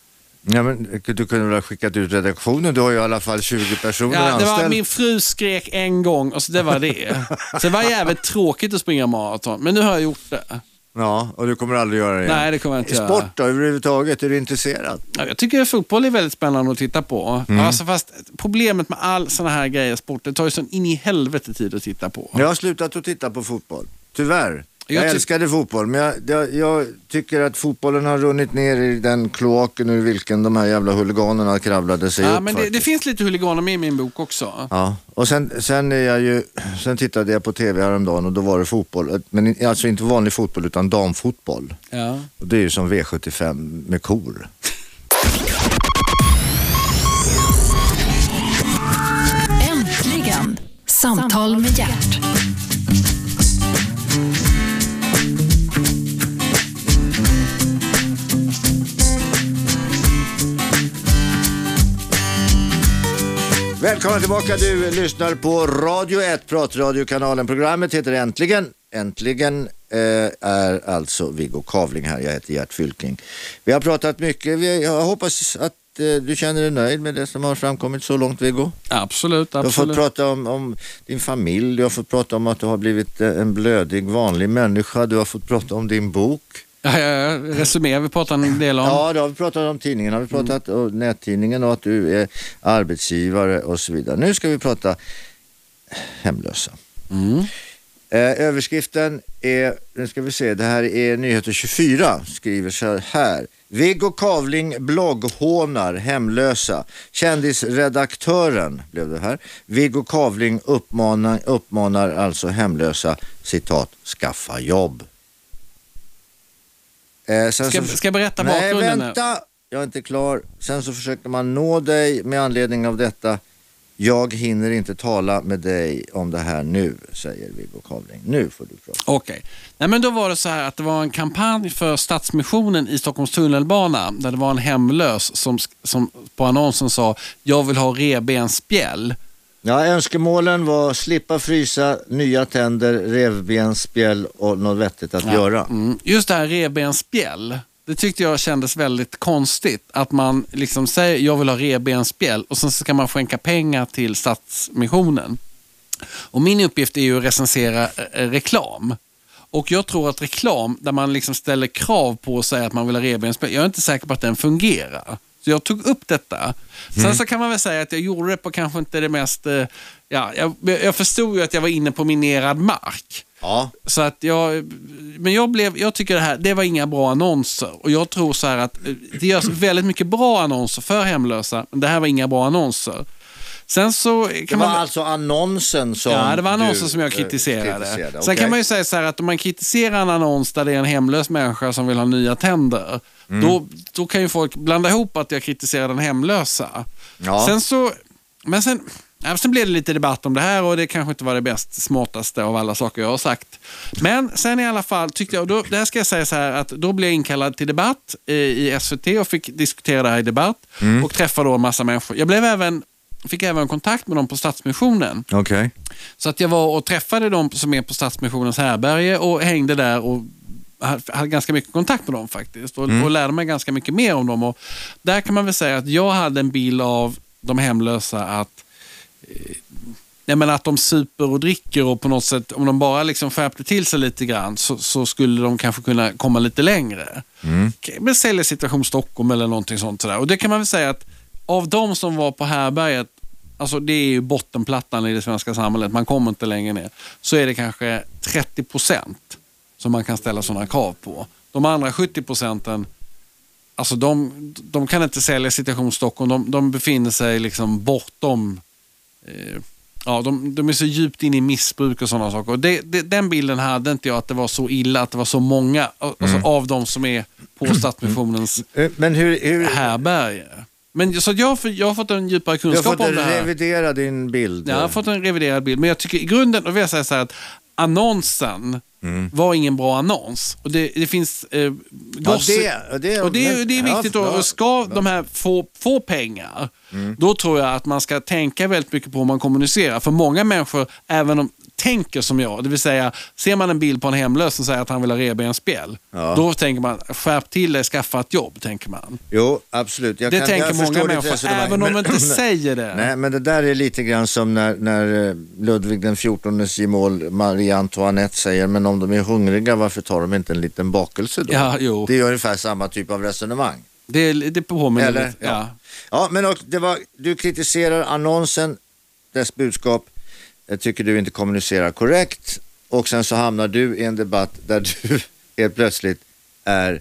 B: Ja, men, du kunde väl ha skickat ut redaktionen, du har ju i alla fall 20 personer
C: Ja, det
B: anställd.
C: var, min fru skrek en gång och så det var det. så det var jävligt tråkigt att springa maraton. Men nu har jag gjort det.
B: Ja, och du kommer aldrig göra det igen.
C: Nej, det kommer jag inte
B: I
C: göra.
B: sport då, överhuvudtaget, är du intresserad?
C: Ja, jag tycker fotboll är väldigt spännande att titta på. Alltså, fast problemet med all såna här grejer, sport, det tar ju sån in i helvete tid att titta på.
B: Jag har slutat att titta på fotboll, tyvärr. Jag,
C: Jag ty-
B: älskade fotboll, men jag, jag, jag tycker att fotbollen har runnit ner i den kloaken ur vilken de här jävla huliganerna kravlade sig
C: Ja,
B: upp.
C: men det,
B: faktiskt.
C: det finns lite huliganer med i min bok också.
B: Ja, och sen, sen, är jag ju, sen tittade jag på tv häromdagen och då var det fotboll. Men i- alltså inte vanlig fotboll utan damfotboll.
C: Ja.
B: Och det är ju som V75 med kor.
A: Äntligen! Samtal med hjärt.
B: Välkomna tillbaka, du lyssnar på Radio 1, pratradiokanalen. Programmet heter Äntligen. Äntligen eh, är alltså Viggo Kavling här, jag heter Gert Fylking. Vi har pratat mycket, Vi, jag hoppas att eh, du känner dig nöjd med det som har framkommit så långt Viggo.
C: Absolut,
B: Du har fått
C: absolut.
B: prata om, om din familj, du har fått prata om att du har blivit eh, en blödig vanlig människa, du har fått prata om din bok.
C: Ja, ja, ja. Resumé, vi pratade en del om. Mm.
B: Ja, det har vi pratat om tidningen, har vi pratat om nättidningen och att du är arbetsgivare och så vidare. Nu ska vi prata hemlösa.
C: Mm.
B: Eh, överskriften är, nu ska vi se, det här är Nyheter 24, skriver så här. Viggo Kavling blogghånar hemlösa. Kändisredaktören, blev det här. Viggo Kavling uppmanar, uppmanar alltså hemlösa, citat, skaffa jobb. Eh, sen
C: Ska,
B: så-
C: ska jag berätta
B: Nej,
C: bakgrunden? nu?
B: vänta! Jag är inte klar. Sen så försöker man nå dig med anledning av detta. Jag hinner inte tala med dig om det här nu, säger Viggo Kavling. Nu får du prata.
C: Okej. Nej, men då var det så här att det var en kampanj för Stadsmissionen i Stockholms tunnelbana där det var en hemlös som, som på annonsen sa jag vill ha revbensspjäll.
B: Ja, önskemålen var slippa frysa, nya tänder, revbensspjäll och något vettigt att göra.
C: Mm. Just det här revbensspjäll, det tyckte jag kändes väldigt konstigt. Att man liksom säger jag vill ha revbensspjäll och sen ska man skänka pengar till Stadsmissionen. Och min uppgift är ju att recensera eh, reklam. Och jag tror att reklam där man liksom ställer krav på att säga att man vill ha revbensspjäll, jag är inte säker på att den fungerar. Så jag tog upp detta. Sen så kan man väl säga att jag gjorde det på kanske inte det mest... eh, Ja, jag, jag förstod ju att jag var inne på minerad mark.
B: Ja.
C: Så att jag, men jag, blev, jag tycker det här, det var inga bra annonser. Och jag tror så här att eh, det görs väldigt mycket bra annonser för hemlösa, men det här var inga bra annonser. Sen så kan
B: Det var
C: man...
B: alltså annonsen som
C: Ja, det var annonsen
B: du,
C: som jag
B: eh,
C: kritiserade.
B: kritiserade.
C: Sen
B: Okej.
C: kan man ju säga så här att om man kritiserar en annons där det är en hemlös människa som vill ha nya tänder,
B: Mm.
C: då, då kan ju folk blanda ihop att jag kritiserar den hemlösa.
B: Ja.
C: Sen så, men sen, ja, sen blev det lite debatt om det här och det kanske inte var det bäst smartaste av alla saker jag har sagt. Men sen i alla fall tyckte jag, och då, det här ska jag säga så här att då blev jag inkallad till debatt eh, i SVT och fick diskutera det här i debatt
B: Mm.
C: och träffade då en massa människor. Jag blev även, fick även kontakt med dem på Stadsmissionen.
B: Okej.
C: Så att jag var och träffade de som är på Stadsmissionens härbärge och hängde där och hade ganska mycket kontakt med dem faktiskt och, och lärde mig ganska mycket mer om dem. Och där kan man väl säga att jag hade en bild av de hemlösa att Nej, men att de super och dricker och på något sätt, om de bara liksom skärpte till sig lite grann så, så skulle de kanske kunna komma lite längre. Okej, Men säljer situation Stockholm eller någonting sånt. Sådär. Och det kan man väl säga att av de som var på härbärget, alltså det är ju bottenplattan i det svenska samhället, man kommer inte längre ner, så är det kanske 30 procent som man kan ställa sådana krav på. De andra 70 procenten Alltså de, de kan inte sälja situation Stockholm. De, de befinner sig liksom bortom... Eh, ja, de, de är så djupt inne i missbruk och sådana saker. Och det, det, den bilden hade inte jag, att det var så illa, att det var så många alltså, av de som är på Stadsmissionens
B: Eh, Men hur... hur...
C: härbärge. Men, så att jag, har fått- jag har fått en djupare
B: Du har
C: kunskap
B: fått
C: om det här.
B: revidera din bild.
C: Ja, jag har fått en reviderad bild. Men jag tycker i grunden, och vill jag säga så här att annonsen
B: Mm.
C: var ingen bra annons. Och det, det finns... Eh, gossip-
B: det- det-
C: och det, är- det är
B: ja,
C: viktigt.
B: bra, Mm.
C: och, och ska de här få, få pengar, då tror jag att man ska tänka väldigt mycket på hur man kommunicerar. För många människor, även om tänker som jag, det vill säga ser man en bild på en hemlös som säger att han vill ha revbensspjäll,
B: Ja.
C: då tänker man skärp till dig, skaffa ett jobb, tänker man.
B: Jo, absolut. Jag
C: Det
B: kan,
C: tänker
B: jag
C: många
B: förstår ditt
C: människor,
B: resonemang,
C: även om de inte säger det.
B: Nej, men det där är lite grann som när, när eh, Ludvig den XIVs gemål Marie Antoinette säger, men om de är hungriga, varför tar de inte en liten bakelse då?
C: Ja, jo.
B: Det är ungefär samma typ av resonemang.
C: Det, det påminner
B: Eller?
C: lite. Ja.
B: ja men och det var, du kritiserar annonsen, dess budskap, eh, tycker du inte kommunicerar korrekt och sen så hamnar du i en debatt där du helt plötsligt är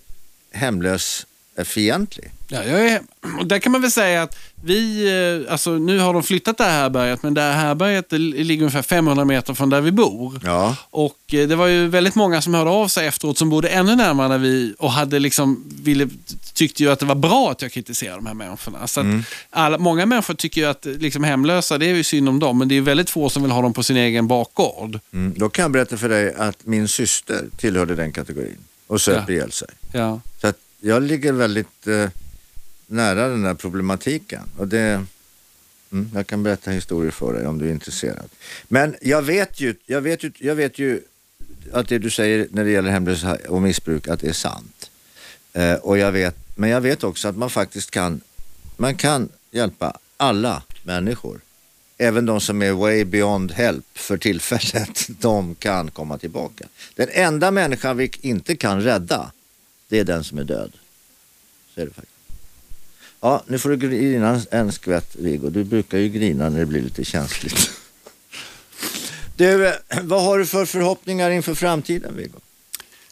B: hemlös eh, fientlig.
C: Ja, jag är, och där kan man väl säga att vi, eh, alltså nu har de flyttat det här härbärget, men det här härbärget det ligger ungefär 500 meter från där vi bor.
B: Ja.
C: Och eh, det var ju väldigt många som hörde av sig efteråt som bodde ännu närmare när vi och hade liksom, ville, tyckte ju att det var bra att jag kritiserade de här människorna. Så att alla, många människor tycker ju att eh, liksom, hemlösa, det är ju synd om dem, men det är ju väldigt få som vill ha dem på sin egen bakgård.
B: Mm, då kan jag berätta för dig att min syster tillhörde den kategorin och söp
C: Ja.
B: ihjäl sig.
C: Ja.
B: Så att jag ligger väldigt eh, nära den här problematiken. Och det, mm, jag kan berätta historier för dig om du är intresserad. Men jag vet ju, jag vet ju, jag vet ju att det du säger när det gäller hemlösa och missbruk, att det är sant. Eh, och jag vet, men jag vet också att man faktiskt kan, man kan hjälpa alla människor. Även de som är way beyond help för tillfället, de kan komma tillbaka. Den enda människan vi inte kan rädda, det är den som är död. Så är det faktiskt. Ja, nu får du grina en skvätt Viggo. Du brukar ju grina när det blir lite känsligt. Du, eh, vad har du för förhoppningar inför framtiden Viggo?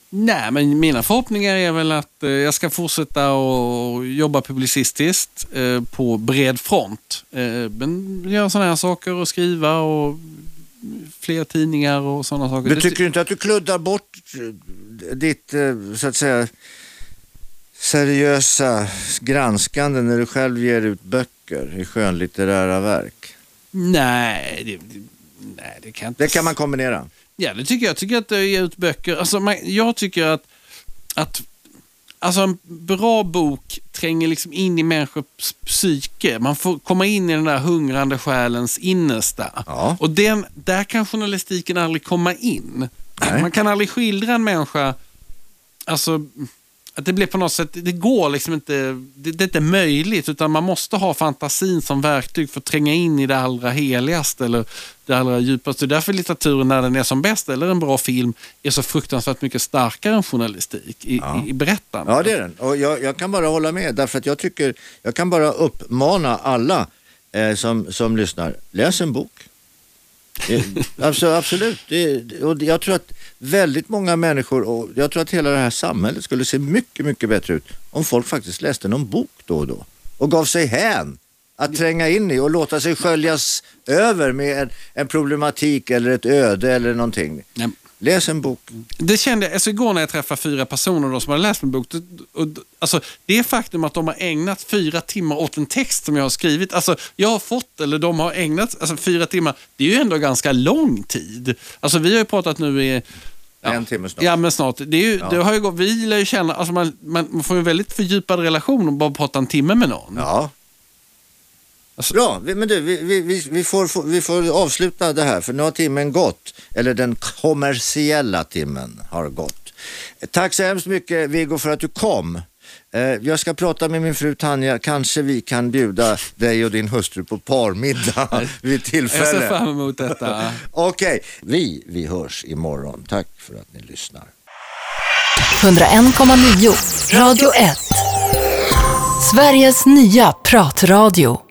C: Nej, men mina förhoppningar är väl att eh, jag ska fortsätta och jobba publicistiskt eh, på bred front. Eh, men göra sådana här saker och skriva och fler tidningar och sådana saker.
B: Du
C: Det-
B: tycker inte att du kluddar bort eh, ditt, eh, så att säga, seriösa granskande när du själv ger ut böcker i skönlitterära verk?
C: Nej, det, det, nej, det kan jag inte...
B: Det kan man kombinera.
C: Ja, det tycker jag. Jag tycker att det ger ut böcker. Alltså, man, jag tycker att, att alltså en bra bok tränger liksom in i människors psyke. Man får komma in i den där hungrande själens innersta.
B: Ja.
C: Och den, där kan journalistiken aldrig komma in.
B: Nej.
C: Man kan aldrig skildra en människa, alltså, att det blir på något sätt, det går liksom inte, det, det är inte möjligt utan man måste ha fantasin som verktyg för att tränga in i det allra heligaste eller det allra djupaste. Det är därför litteraturen när den är som bäst eller en bra film är så fruktansvärt mycket starkare än journalistik i, i, i berättandet.
B: Ja, det är den. Och jag, jag kan bara hålla med, därför att jag tycker, jag kan bara uppmana alla eh, som, som lyssnar, läs en bok. Eh, alltså, absolut. Det, det- och jag tror att väldigt många människor, och jag tror att hela det här samhället skulle se mycket, mycket bättre ut om folk faktiskt läste någon bok då och då och gav sig hän att tränga in i och låta sig sköljas över med en, en problematik eller ett öde eller någonting.
C: Nej,
B: Läs en bok.
C: Det kände jag, alltså igår när jag träffade fyra personer då som hade läst min bok. Det, och, alltså, det faktum att de har ägnat fyra timmar åt en text som jag har skrivit. Alltså, jag har fått, eller de har ägnat, alltså fyra timmar, det är ju ändå ganska lång tid. Alltså vi har ju pratat nu i... ja,
B: En timme snart.
C: Ja, men snart. Det är ju, det har ju gått, vi lär ju känna, alltså man, man, man får ju en väldigt fördjupad relation om bara prata en timme med någon.
B: Ja.
C: Mm. Alltså-
B: Bra, vi- men du, vi, vi- vi, vi, får, får- vi får avsluta det här för nu har timmen gått. Eller den kommersiella timmen har gått. Tack så hemskt mycket Viggo för att du kom. Eh, Jag ska prata med min fru Tanja, kanske vi kan bjuda dig och din hustru på parmiddag vid
C: jag ser
B: tillfälle.
C: fram emot detta.
B: Okej, vi, vi hörs imorgon. Tack för att ni lyssnar.
A: 101,9 Radio 1. Sveriges nya pratradio.